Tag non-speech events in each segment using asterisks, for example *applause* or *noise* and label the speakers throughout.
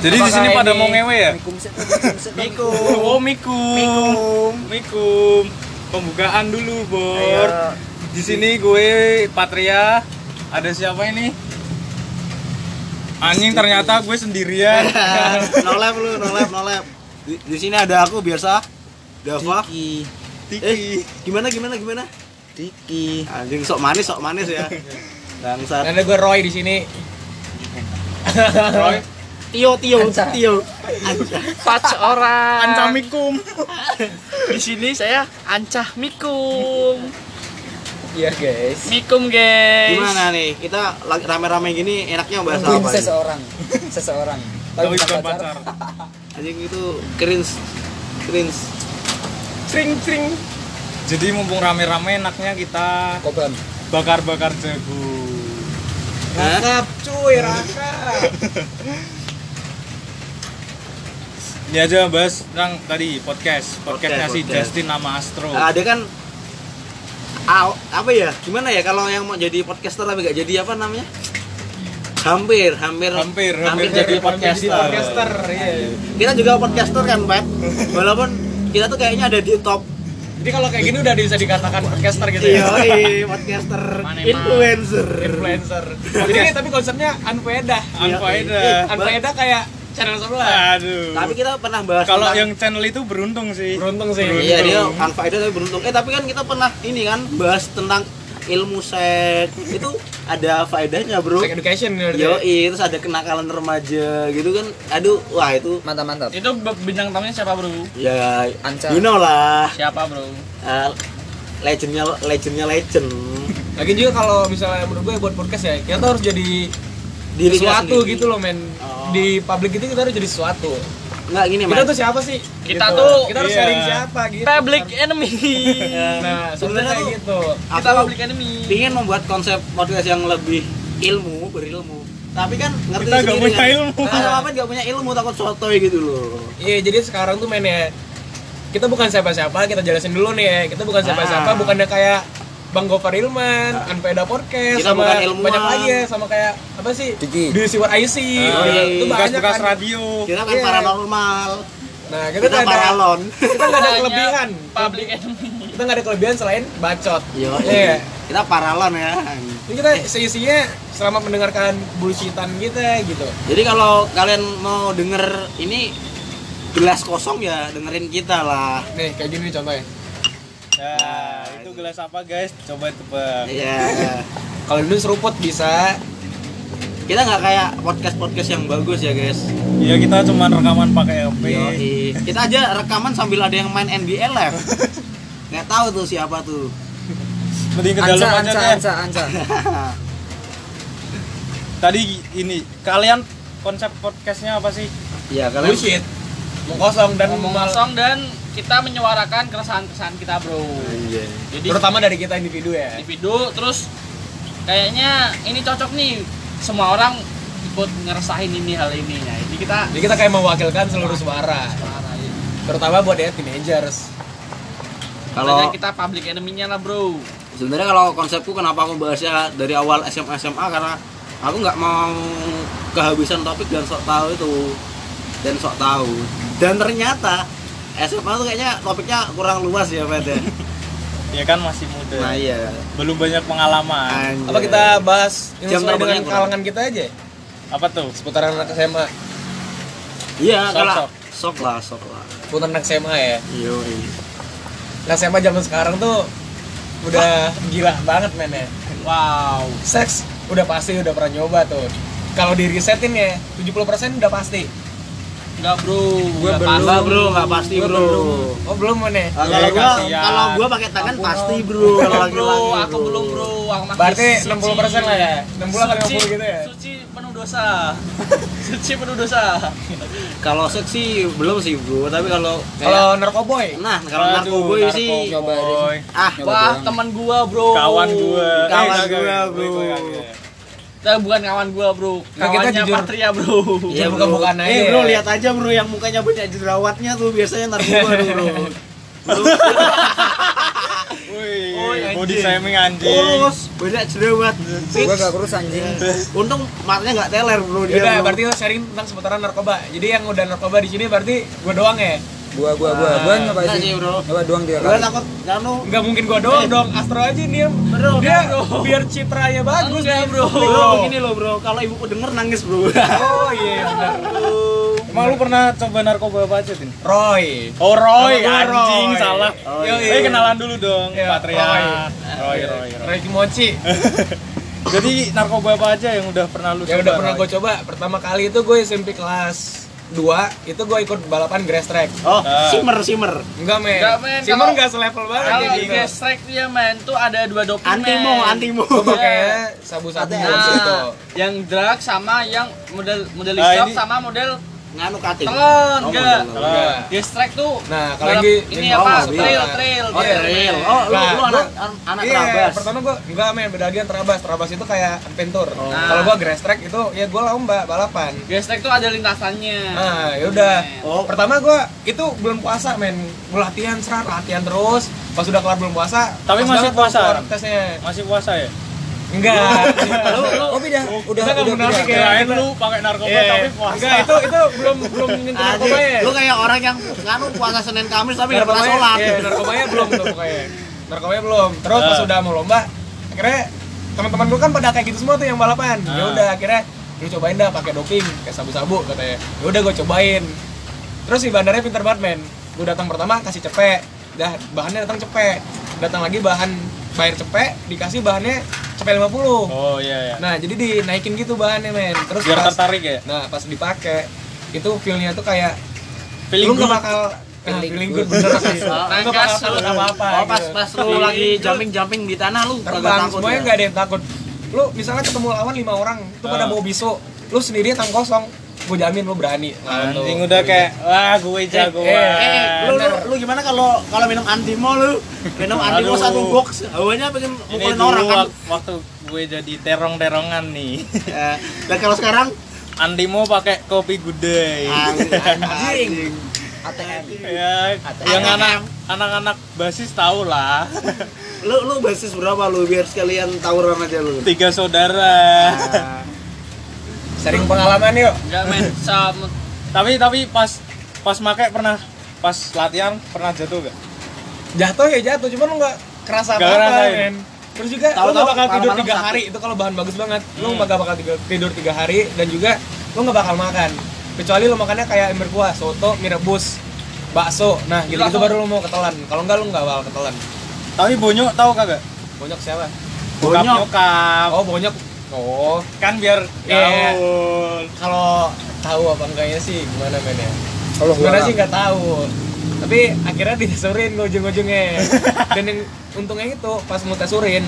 Speaker 1: Jadi di sini pada mau ngewe ya?
Speaker 2: Mikum.
Speaker 1: Oh, mikum.
Speaker 2: Mikum.
Speaker 1: Mikum. Pembukaan dulu, Bor.
Speaker 2: Ayo.
Speaker 1: Di sini gue Patria. Ada siapa ini? Anjing ternyata gue sendirian.
Speaker 2: *laughs* no lab lu, no lab, no lab. Di, di sini ada aku biasa. Dava.
Speaker 3: Tiki,
Speaker 2: Eh,
Speaker 1: Tiki.
Speaker 2: gimana gimana gimana?
Speaker 3: Tiki.
Speaker 2: Anjing sok manis, sok manis ya. Bangsat.
Speaker 3: Dan ada gue Roy di sini.
Speaker 1: Roy,
Speaker 2: Tio, Tio,
Speaker 3: Anca.
Speaker 2: Tio. Anca.
Speaker 3: Patch orang.
Speaker 1: ancam mikum.
Speaker 4: di sini saya ancah mikum
Speaker 3: Iya guys.
Speaker 4: mikum guys
Speaker 2: Gimana nih? Kita lagi rame-rame gini enaknya bahas
Speaker 3: Nungguin
Speaker 2: apa? nih?
Speaker 3: seseorang, seseorang.
Speaker 1: Tapi bukan pacar.
Speaker 2: Anjing itu cringe cringe.
Speaker 1: Tring tring. Jadi mumpung rame-rame enaknya kita
Speaker 3: Kobam.
Speaker 1: bakar-bakar jagung.
Speaker 2: Hah?
Speaker 3: cuy, raka.
Speaker 1: Ini aja bahas tentang tadi podcast, podcastnya
Speaker 2: Podcast,
Speaker 1: si
Speaker 2: podcast.
Speaker 1: Justin nama Astro.
Speaker 2: Nah, ada kan aw- apa ya? Gimana ya kalau yang mau jadi podcaster tapi nggak jadi apa namanya? Hampir, hampir,
Speaker 1: Hampir, hampir,
Speaker 2: jadi
Speaker 1: hampir jadi
Speaker 2: podcaster.
Speaker 1: podcaster.
Speaker 3: iya.
Speaker 2: Kita juga podcaster kan,
Speaker 3: *laughs*
Speaker 2: Pat. Walaupun kita tuh kayaknya ada di top
Speaker 3: Jadi kalau kayak gini udah bisa dikatakan podcaster gitu
Speaker 2: iya,
Speaker 3: ya.
Speaker 2: iya, podcaster
Speaker 3: Mana, Mas?
Speaker 2: influencer.
Speaker 3: Influencer. Jadi kayak tapi konsepnya unfaedah.
Speaker 1: Iya. Unfaedah.
Speaker 3: Unfaedah kayak channel sebelah.
Speaker 1: Aduh.
Speaker 2: Tapi kita pernah bahas
Speaker 1: Kalau
Speaker 2: tentang-
Speaker 1: yang channel itu beruntung sih.
Speaker 3: Beruntung sih.
Speaker 1: Beruntung.
Speaker 2: iya dia unfaedah tapi beruntung. Eh tapi kan kita pernah ini kan bahas tentang ilmu seks itu ada faedahnya bro.
Speaker 3: Sex education ya, berarti.
Speaker 2: Yo, terus ada kenakalan remaja gitu kan. Aduh, wah itu
Speaker 3: Mantap mantap.
Speaker 4: itu be- bintang tamunya siapa bro
Speaker 2: ya
Speaker 3: Anca.
Speaker 2: you know lah
Speaker 4: siapa bro
Speaker 2: Eh, legendnya legendnya
Speaker 3: *laughs*
Speaker 2: legend
Speaker 3: Lagi juga kalau misalnya menurut gue buat podcast ya, kita tuh harus jadi
Speaker 2: Diri kita
Speaker 3: sesuatu
Speaker 2: sendiri.
Speaker 3: gitu loh men.
Speaker 2: Oh.
Speaker 3: Di publik itu kita harus jadi sesuatu.
Speaker 2: nggak gini
Speaker 3: Kita
Speaker 2: mas
Speaker 3: tuh siapa sih?
Speaker 4: Kita
Speaker 3: Gitu.
Speaker 4: tuh-
Speaker 3: kita harus
Speaker 1: iya.
Speaker 3: sharing siapa gitu.
Speaker 4: public enemy
Speaker 3: Nah,
Speaker 2: Sebenarnya
Speaker 3: sebenarnya kayak
Speaker 2: tuh-
Speaker 3: gitu.
Speaker 4: kita
Speaker 2: aku
Speaker 4: public enemy
Speaker 2: ingin membuat konsep podcast yang lebih ilmu berilmu tapi kan ngerti
Speaker 1: Kita nggak
Speaker 2: sendiri
Speaker 1: punya
Speaker 2: kan?
Speaker 1: ilmu.
Speaker 2: Mas Muhammad nggak punya ilmu takut sotoy gitu loh
Speaker 3: Iya, jadi sekarang tuh men ya kita bukan siapa-siapa, kita jelasin dulu nih ya. Kita bukan
Speaker 2: Ah.
Speaker 3: siapa-siapa, bukannya kayak Bang Gofar Ilman, Anpeda Podcast,
Speaker 2: Kita
Speaker 3: sama
Speaker 2: bukan ilmuwan.
Speaker 3: banyak lagi ya, sama kayak apa sih?
Speaker 5: Diki.
Speaker 3: Do You See What I See.
Speaker 1: Ah,
Speaker 2: Oh, iya, iya.
Speaker 3: Itu banyak
Speaker 1: Tugas-tugas
Speaker 3: kan.
Speaker 1: radio. Nah,
Speaker 2: kita kan
Speaker 3: Iya.
Speaker 2: paranormal
Speaker 3: Nah,
Speaker 1: Ya,
Speaker 3: kita,
Speaker 2: kita
Speaker 3: nggak ada
Speaker 1: *laughs*
Speaker 2: paralon
Speaker 3: kita nggak ada
Speaker 4: Hanya
Speaker 3: kelebihan.
Speaker 4: public enemy
Speaker 3: Kita nggak ada kelebihan selain bacot.
Speaker 2: Yo,
Speaker 3: Iya.
Speaker 2: kita paralon ya
Speaker 3: Jadi kita seisinya selama mendengarkan bullshitan kita gitu.
Speaker 2: jadi kalau kalian mau denger ini gelas kosong ya dengerin kita lah
Speaker 3: Nih, kayak gini contohnya.
Speaker 1: Nah, itu gelas apa guys? Coba tebak.
Speaker 2: Iya.
Speaker 3: Kalau dulu seruput bisa,
Speaker 2: kita nggak kayak podcast podcast yang bagus ya guys
Speaker 1: Ya kita cuman rekaman pakai HP.
Speaker 2: Yoi. kita aja rekaman sambil ada yang main NBL *laughs* live nggak tahu tuh siapa tuh
Speaker 1: Mending ke dalam
Speaker 5: Anca,
Speaker 1: aja
Speaker 5: anca,
Speaker 1: deh.
Speaker 5: anca,
Speaker 2: *laughs*
Speaker 5: anca.
Speaker 1: Tadi ini kalian konsep podcastnya apa sih?
Speaker 2: ya kalian
Speaker 3: bullshit. Mau kosong dan mau
Speaker 4: kosong dan kita menyuarakan keresahan-keresahan kita bro
Speaker 2: Iya.
Speaker 4: jadi
Speaker 3: terutama dari kita individu ya.
Speaker 4: individu terus kayaknya ini cocok nih semua orang ikut ngerasain ini hal ini nah ini kita
Speaker 3: Jadi kita kayak mewakilkan seluruh suara,
Speaker 4: suara
Speaker 3: terutama buat ya teenagers.
Speaker 2: kalau
Speaker 4: kita public enemy-nya lah bro
Speaker 2: sebenarnya kalau konsepku kenapa aku bahasnya dari awal SMA SMA karena aku nggak mau kehabisan topik dan sok tahu itu dan sok tahu dan ternyata SMA tuh kayaknya topiknya kurang luas ya Pat ya *laughs*
Speaker 1: Ya kan masih muda.
Speaker 2: nah iya
Speaker 1: Belum banyak pengalaman.
Speaker 2: Anjay.
Speaker 3: Apa kita bahas yang
Speaker 2: Jam
Speaker 3: sesuai
Speaker 2: terbangnya
Speaker 3: dengan
Speaker 2: kurang.
Speaker 3: kalangan kita aja?
Speaker 1: Apa tuh?
Speaker 3: Seputaran anak SMA,
Speaker 2: iya
Speaker 1: Sok,
Speaker 2: kalau
Speaker 1: sok.
Speaker 2: sok lah sok lah
Speaker 3: seputaran anak SMA ya.
Speaker 2: Yoi.
Speaker 3: Nah SMA zaman sekarang tuh udah gila banget men ya. Wow. Seks udah pasti udah pernah nyoba tuh. Kalau di risetin ya 70% udah pasti.
Speaker 4: enggak bro gue
Speaker 2: Enggak bro, enggak pasti
Speaker 3: Gua
Speaker 2: bro.
Speaker 3: belum. Oh belum men ya.
Speaker 2: Ah, Kalau gua
Speaker 1: Kasihan.
Speaker 2: kalau gua pakai tangan
Speaker 3: Ampun,
Speaker 2: pasti bro kalau lagi
Speaker 4: bro,
Speaker 2: lagi.
Speaker 4: aku belum bro, aku masih
Speaker 3: Berarti
Speaker 4: suci.
Speaker 3: 60% lah ya. 60 atau
Speaker 4: Suci-
Speaker 3: 50 gitu ya.
Speaker 4: Suci penuh dosa. suci penuh dosa.
Speaker 2: Kalau seks sih belum sih bro, tapi kalau
Speaker 3: Kalau narkoboy,
Speaker 2: nah kalau
Speaker 1: Aduh,
Speaker 2: narkoboy
Speaker 1: narkoboy.
Speaker 2: sih
Speaker 5: Coba
Speaker 2: ah
Speaker 5: Coba
Speaker 4: Wah,
Speaker 5: doang.
Speaker 4: teman gua bro.
Speaker 1: Kawan gua. Eh,
Speaker 2: Kawan
Speaker 1: kagak,
Speaker 2: gua,
Speaker 1: kagak,
Speaker 2: bro.
Speaker 1: gua kagak.
Speaker 4: Nah, bukan kawan gua bro.
Speaker 3: Nah, kita
Speaker 4: Kawannya
Speaker 3: jujur.
Speaker 4: Patria bro.
Speaker 3: Iya, buka-bukaan aja
Speaker 2: Eh
Speaker 3: ya.
Speaker 2: bro lihat aja bro yang mukanya banyak jerawatnya tuh biasanya narkoba tuh bro. Bro,
Speaker 1: Wih,
Speaker 4: Woi, anjing.
Speaker 1: body shaming anjing.
Speaker 2: kurus banyak jelewat
Speaker 5: Gua gak kurus anjing.
Speaker 2: iya. untung matanya nggak teler bro dia
Speaker 3: Yaudah,
Speaker 2: Iya, bro.
Speaker 3: berarti lo sharing tentang seputaran narkoba. Jadi yang udah narkoba di sini berarti gue doang ya?
Speaker 5: Gua gua gua
Speaker 3: Nah.
Speaker 5: gua nyoba sih.
Speaker 2: Enggak Iya sih,
Speaker 6: Nah,
Speaker 2: bro.
Speaker 5: Nyoba doang dia
Speaker 2: gue
Speaker 5: kali.
Speaker 2: takut nganu
Speaker 3: Nggak mungkin gue doang dong, Astro aja dia.
Speaker 2: Bro,
Speaker 3: dia
Speaker 2: bro.
Speaker 3: biar citranya bagus
Speaker 4: Enggak,
Speaker 3: nih,
Speaker 4: bro. Oh,
Speaker 2: bro gini loh bro kalau ibuku denger nangis bro *laughs*
Speaker 3: Oh iya benar.
Speaker 1: Emang lu pernah coba narkoba apa aja, Tin?
Speaker 3: Roy.
Speaker 1: Oh, Roy,
Speaker 3: Sama gua,
Speaker 1: anjing,
Speaker 3: Roy.
Speaker 1: salah.
Speaker 3: Oh,
Speaker 1: Yo,
Speaker 3: iya.
Speaker 1: Eh, kenalan dulu dong,
Speaker 3: Iya,
Speaker 1: Patria.
Speaker 3: Roy.
Speaker 1: Roy, Roy, Roy.
Speaker 3: Roy Kimochi.
Speaker 1: Jadi narkoba apa aja yang udah pernah lu
Speaker 3: Ya udah pernah
Speaker 1: Roy?
Speaker 3: gue coba. Pertama kali itu gue SMP kelas 2 itu gue ikut balapan grass track.
Speaker 2: oh
Speaker 1: Ah.
Speaker 2: simmer simmer
Speaker 3: Enggak men.
Speaker 4: Enggak, men.
Speaker 3: Simon
Speaker 4: Kalau-
Speaker 3: enggak selevel banget
Speaker 4: Kalau
Speaker 3: kayak
Speaker 4: di
Speaker 3: gitu.
Speaker 4: gestrek dia main tuh ada dua dokumen.
Speaker 2: antimo antimo
Speaker 3: Gue
Speaker 4: iya.
Speaker 3: pakai
Speaker 5: Ada.
Speaker 3: sabu-sabu abis itu.
Speaker 4: Nah, yang drug sama yang model model
Speaker 3: Nah,
Speaker 1: Ah,
Speaker 4: isop
Speaker 1: ini-
Speaker 4: sama model
Speaker 2: nganu kating
Speaker 4: telon,
Speaker 2: Oh,
Speaker 4: enggak.
Speaker 2: model.
Speaker 3: Iya.
Speaker 1: Salah.
Speaker 4: Gestrek tuh
Speaker 3: Nah, kalau
Speaker 4: balap-
Speaker 3: lagi
Speaker 4: ini
Speaker 3: lagi-
Speaker 4: apa?
Speaker 2: oh, mobil.
Speaker 4: trail, trail.
Speaker 2: oh
Speaker 4: dia.
Speaker 2: real oh lu
Speaker 3: Nah,
Speaker 2: lu anak an- anak
Speaker 3: Iya,
Speaker 2: terabas
Speaker 3: pertama gua enggak main bedagian terabas. Terabas itu kayak adventure.
Speaker 4: Nah.
Speaker 3: Kalau gua grass track itu ya gua lomba balapan.
Speaker 4: Gestrek tuh ada lintasannya.
Speaker 3: Nah, yaudah.
Speaker 2: Oh.
Speaker 3: Pertama gua itu belum puasa, men. Gua latihan serat, latihan terus. Pas udah kelar belum puasa,
Speaker 1: Tapi
Speaker 3: pas
Speaker 1: masih
Speaker 3: banget
Speaker 1: puasa?
Speaker 3: tuh keluar tesnya.
Speaker 1: Masih puasa ya?
Speaker 3: Enggak.
Speaker 2: lu lu
Speaker 5: Oh, pindah. Udah
Speaker 3: Kita nggak
Speaker 5: udah
Speaker 3: munafik
Speaker 5: pindah.
Speaker 3: ya.
Speaker 1: Iya, Kirain lu pakai narkoba
Speaker 3: Iya.
Speaker 1: tapi puasa.
Speaker 3: Enggak, itu itu belum belum nyentuh narkoba
Speaker 2: Anjing,
Speaker 3: ya.
Speaker 2: lu kayak orang yang nganu puasa Senin Kamis tapi nggak pernah
Speaker 3: Narkobanya-
Speaker 2: sholat
Speaker 3: Iya, narkobanya belum tuh pokoknya. Narkobanya belum. Terus pas
Speaker 1: Ah.
Speaker 3: udah mau lomba, akhirnya teman-teman gua kan pada kayak gitu semua tuh yang balapan. Ya
Speaker 1: Ah.
Speaker 3: udah akhirnya lu cobain dah pakai doping kayak sabu-sabu katanya. Ya udah gua cobain. Terus si bandarnya pinter banget men. Gua datang pertama kasih cepek. Dah bahannya datang cepek. Datang lagi bahan bayar cepek, dikasih bahannya cepek 50.
Speaker 1: Oh, iya, iya.
Speaker 3: Nah, jadi dinaikin gitu bahannya men. Terus
Speaker 1: Biar
Speaker 3: pas,
Speaker 1: tertarik ya?
Speaker 3: Nah, pas dipakai itu feel-nya tuh kayak
Speaker 1: Feeling
Speaker 3: lu nggak
Speaker 1: good.
Speaker 3: bakal nah,
Speaker 5: Feeling
Speaker 3: feeling
Speaker 5: good.
Speaker 3: good
Speaker 1: *laughs*
Speaker 3: bener sih.
Speaker 2: Nangkas
Speaker 3: Lu nggak bakal
Speaker 4: lu.
Speaker 3: takut apa-apa.
Speaker 2: oh pas
Speaker 3: gitu.
Speaker 2: pas lu
Speaker 3: Feeling
Speaker 2: lagi
Speaker 3: good.
Speaker 2: jumping jumping di tanah lu kagak
Speaker 3: terbang
Speaker 2: takut
Speaker 3: semuanya
Speaker 2: ya?
Speaker 3: nggak ada yang takut. Lu misalnya ketemu lawan lima orang, itu pada
Speaker 1: Ah.
Speaker 3: mau bisu, lu sendiri tang kosong, gue jamin lu berani. lawan lu.
Speaker 1: Anjing udah kayak wah gue jagoan.
Speaker 3: eh,
Speaker 2: Eh, lu, lu, lu gimana kalau kalau minum antimo lu minum antimo
Speaker 1: Aduh.
Speaker 2: satu box hawanya pengen
Speaker 1: ini
Speaker 2: mukulin
Speaker 1: dulu
Speaker 2: orang kan
Speaker 1: wak- waktu gue jadi terong-terongan nih.
Speaker 2: Eh, dan kalau sekarang ah,
Speaker 1: Antimo pakai kopi gudeg.
Speaker 2: Iya. anjing ATM
Speaker 1: *laughs* ya, yang anak anak-anak basis tahu lah.
Speaker 2: lu lu basis berapa lu biar sekalian tawuran aja lu
Speaker 1: Tiga saudara.
Speaker 2: Ah.
Speaker 3: Sering pengalaman yuk.
Speaker 4: Enggak main sama
Speaker 1: tapi tapi pas pas make pernah pas latihan pernah jatuh gak?
Speaker 3: Jatuh ya jatuh, cuman lu nggak kerasa
Speaker 1: Nggak
Speaker 3: apa-apa
Speaker 1: ngerasain.
Speaker 3: men. Terus juga lu
Speaker 2: Tahu-tahu
Speaker 3: nggak bakal tidur
Speaker 2: malam-malam
Speaker 3: tiga
Speaker 2: sakit.
Speaker 3: hari, itu kalau bahan bagus banget. Lu
Speaker 1: Hmm.
Speaker 3: nggak bakal tiga- tidur tiga hari dan juga lu nggak bakal makan. Kecuali lu makannya kayak ember kuah, soto, mie rebus, bakso. Nah, gitu,
Speaker 4: Langsung-
Speaker 3: baru lu mau ketelan. Kalau nggak lu nggak bakal ketelan.
Speaker 1: Tapi bonyok tahu kagak?
Speaker 3: Bonyok siapa?
Speaker 1: Bokap
Speaker 2: Bonyok.
Speaker 1: nyokap.
Speaker 3: Oh, bonyok. Oh,
Speaker 1: Kan biar
Speaker 3: Iya.
Speaker 1: gaul.
Speaker 3: kalau tahu apa enggaknya sih gimana men ya?
Speaker 5: Kalau gua
Speaker 3: Sebenarnya sih nggak tahu. Tapi akhirnya ditesurin gua ujung-ujungnya. Dan yang untungnya itu pas mau tesurin,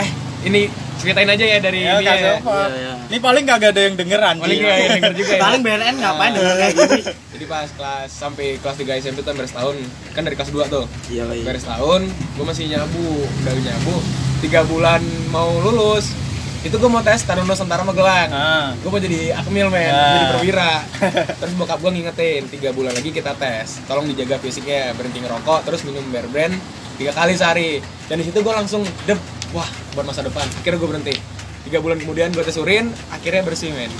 Speaker 3: eh ini ceritain aja ya dari
Speaker 1: Ya,
Speaker 3: ini ya.
Speaker 1: kagak apa.
Speaker 2: Iya, iya.
Speaker 1: Ini paling kagak ada yang denger anjing.
Speaker 3: Paling nggak ya, denger juga ya.
Speaker 2: paling BNN ngapain denger kayak gini
Speaker 3: Jadi pas kelas sampai kelas 3 SMP tuh beres tahun, kan dari kelas 2 tuh.
Speaker 2: *laughs* iya
Speaker 3: Beres tahun, gua masih nyabu, udah nyabu. 3 bulan mau lulus. Itu gua mau tes Taruna Nusantara Magelang.
Speaker 1: Ah.
Speaker 3: gue mau jadi akmil men,
Speaker 1: Ya.
Speaker 3: jadi perwira terus bokap gue ngingetin tiga bulan lagi kita tes tolong dijaga fisiknya berhenti ngerokok terus minum bear brand tiga kali sehari dan di situ gue langsung dep wah buat masa depan akhirnya gue berhenti tiga bulan kemudian gue tes urin akhirnya bersih men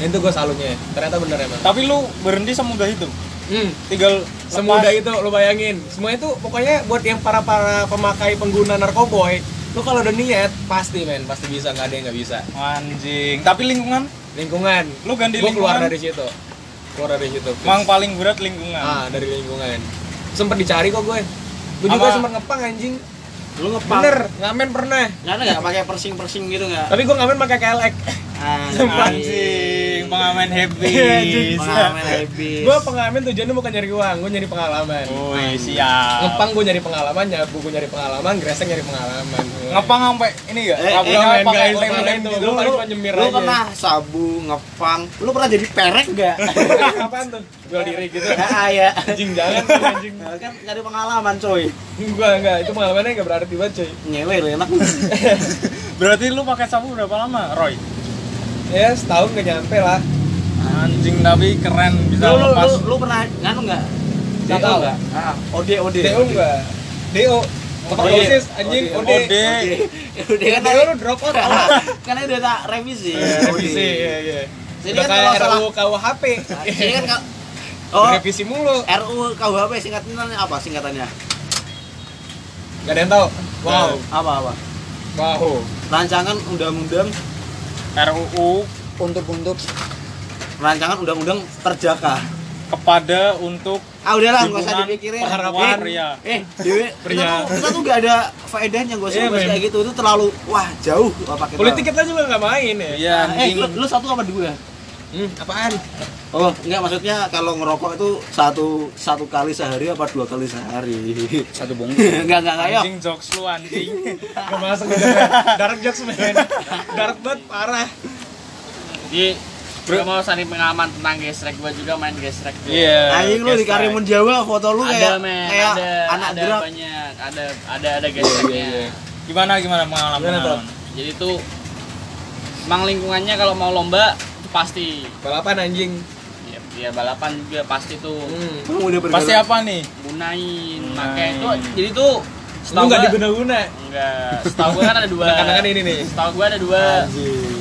Speaker 3: dan itu gue salutnya ternyata bener emang
Speaker 1: Tapi lu berhenti semudah itu.
Speaker 3: hmm.
Speaker 1: Tinggal
Speaker 3: semudah
Speaker 1: lepas.
Speaker 3: itu lo bayangin semua itu pokoknya buat yang para para pemakai pengguna narkoboy lo kalau udah niat pasti men pasti bisa nggak ada yang nggak bisa
Speaker 1: Anjing. Tapi lingkungan
Speaker 3: lingkungan
Speaker 1: Lu ganti
Speaker 3: Gua keluar
Speaker 1: lingkungan?
Speaker 3: dari situ keluar dari situ fix.
Speaker 1: Emang paling berat lingkungan.
Speaker 3: ah dari lingkungan sempet dicari kok gue gue juga
Speaker 1: Apa?
Speaker 3: sempet ngepang anjing
Speaker 2: lu ngepang
Speaker 3: bener ngamen pernah
Speaker 2: nggak ada nggak pakai persing persing gitu nggak *laughs*
Speaker 3: tapi gue ngamen pakai kelek
Speaker 1: Anjing, pengamen *laughs* happy.
Speaker 3: Iya, anjing.
Speaker 2: pengamen habis
Speaker 3: gue pengamen tujuannya bukan nyari uang gue nyari pengalaman
Speaker 1: Woi, siap.
Speaker 3: ngepang gue nyari pengalaman nyabu gue nyari pengalaman gresek nyari pengalaman
Speaker 1: Ngepang sampai ini enggak?
Speaker 2: Eh,
Speaker 3: Iya,
Speaker 1: Rambutnya
Speaker 3: men,
Speaker 1: pakai
Speaker 3: guys,
Speaker 1: lem
Speaker 3: ngepang
Speaker 1: lem
Speaker 3: itu.
Speaker 1: gitu.
Speaker 3: Lu paling cuma nyemir
Speaker 2: lu
Speaker 3: aja.
Speaker 2: pernah sabu ngepang lu pernah jadi perek nggak
Speaker 3: *laughs* apaan tuh jual diri *laughs* gitu
Speaker 2: ah ya
Speaker 3: anjing jangan tuh, anjing
Speaker 2: kan nyari pengalaman coy
Speaker 3: gue enggak itu pengalamannya enggak berarti banget cuy
Speaker 2: nyewe lu enak
Speaker 1: Berarti lu pakai sabu berapa lama, Roy?
Speaker 3: ya setahun gak nyampe lah
Speaker 1: Anjing tapi keren bisa
Speaker 2: lu, lu,
Speaker 1: lepas.
Speaker 2: lu, lu pernah nganu nggak
Speaker 3: Nggak
Speaker 2: DO
Speaker 3: tahu.
Speaker 2: nggak? Ah, OD OD
Speaker 3: DO enggak DO Tepat OSIS anjing OD.
Speaker 1: Ode.
Speaker 2: udah kan
Speaker 3: Dia lu drop out
Speaker 2: karena
Speaker 3: awal.
Speaker 2: karena udah tak revisi
Speaker 3: Iya, Revisi iya iya.
Speaker 2: Jadi
Speaker 3: Udah
Speaker 2: kan
Speaker 3: kayak
Speaker 2: kalau
Speaker 3: RUU KUHP.
Speaker 2: ini
Speaker 3: *laughs*
Speaker 2: kan kau oh
Speaker 3: Revisi mulu.
Speaker 2: RU KUHP singkatannya apa singkatannya
Speaker 3: Gak ada yang tahu. Wow.
Speaker 2: apa apa
Speaker 3: Wow.
Speaker 2: rancangan undang-undang
Speaker 1: RUU
Speaker 5: Untuk-untuk
Speaker 2: rancangan undang-undang perjaka
Speaker 1: kepada untuk
Speaker 2: ah udahlah nggak usah
Speaker 1: Hubungan
Speaker 2: dipikirin
Speaker 1: perempuan,
Speaker 2: eh,
Speaker 1: pria.
Speaker 2: eh Dewi,
Speaker 3: Pria.
Speaker 2: kita tuh, kita tuh gak ada faedahnya gak usah
Speaker 1: Iya,
Speaker 2: bahas
Speaker 1: men.
Speaker 2: kayak gitu itu terlalu wah jauh apa kita
Speaker 3: Politik kita juga gak main ya.
Speaker 1: ya
Speaker 2: eh
Speaker 1: anjing
Speaker 2: lu, lu satu apa dua
Speaker 3: Hmm, apaan?
Speaker 2: Oh, enggak maksudnya kalau ngerokok itu satu satu kali sehari apa dua kali sehari? *laughs*
Speaker 5: satu bungkus.
Speaker 2: enggak enggak enggak yuk.
Speaker 1: anjing jokes lu
Speaker 2: *laughs*
Speaker 1: anjing
Speaker 3: Gak masuk gitu. Dark jokes men. Dark banget parah.
Speaker 4: Jadi gue mau sari pengalaman tentang gesrek gue juga main gesrek.
Speaker 1: iya
Speaker 2: Anjing lu di
Speaker 1: karimun
Speaker 2: Karimun Jawa foto lu
Speaker 4: Ada
Speaker 2: kayak
Speaker 4: men,
Speaker 2: kayak
Speaker 4: ada
Speaker 2: anak
Speaker 4: ada
Speaker 2: drag.
Speaker 4: banyak, ada ada ada gesreknya.
Speaker 1: gimana gimana pengalaman
Speaker 3: Gimana, Bro?
Speaker 1: pengalaman?
Speaker 4: Jadi tuh emang lingkungannya kalau mau lomba itu pasti
Speaker 3: Balapan anjing.
Speaker 4: ya, ya balapan juga pasti tuh
Speaker 3: Hmm.
Speaker 2: Emang udah bergerak.
Speaker 1: pasti apa nih
Speaker 4: gunain
Speaker 1: Gunain.
Speaker 4: pakai itu jadi tuh
Speaker 3: Lu
Speaker 4: setahu
Speaker 3: gak
Speaker 4: gue
Speaker 3: diguna-guna.
Speaker 4: enggak setahu gue kan ada dua
Speaker 3: Anak-anak ini nih.
Speaker 4: setahu gue ada dua
Speaker 1: Ah.
Speaker 3: Anjing.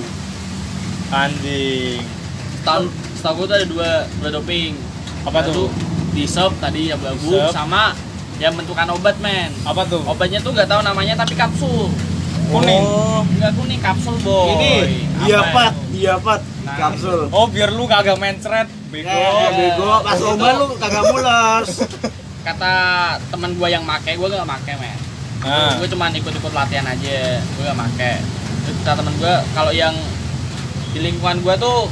Speaker 1: anjing
Speaker 4: tahun setahu gue tuh ada dua dua doping
Speaker 1: apa
Speaker 4: Satu
Speaker 1: tuh
Speaker 4: di shop tadi ya babu
Speaker 1: Sop.
Speaker 4: sama yang bentukan obat men
Speaker 1: apa tuh
Speaker 4: obatnya tuh nggak tahu namanya tapi kapsul
Speaker 1: kuning
Speaker 2: Oh,
Speaker 4: nggak kuning kapsul boy
Speaker 1: Ini,
Speaker 4: Apa
Speaker 2: iya
Speaker 4: ya?
Speaker 2: pat, iya pat,
Speaker 4: Nah.
Speaker 2: kapsul.
Speaker 1: oh biar lu kagak mencret bego
Speaker 2: Eh, bego, pas
Speaker 4: Itu-
Speaker 2: obat lu kagak *laughs* mules.
Speaker 4: kata teman gua yang make gua nggak make men
Speaker 1: nah
Speaker 4: gue cuma ikut-ikut latihan aja gue gak make terus kata temen gue kalau yang di lingkungan gue tuh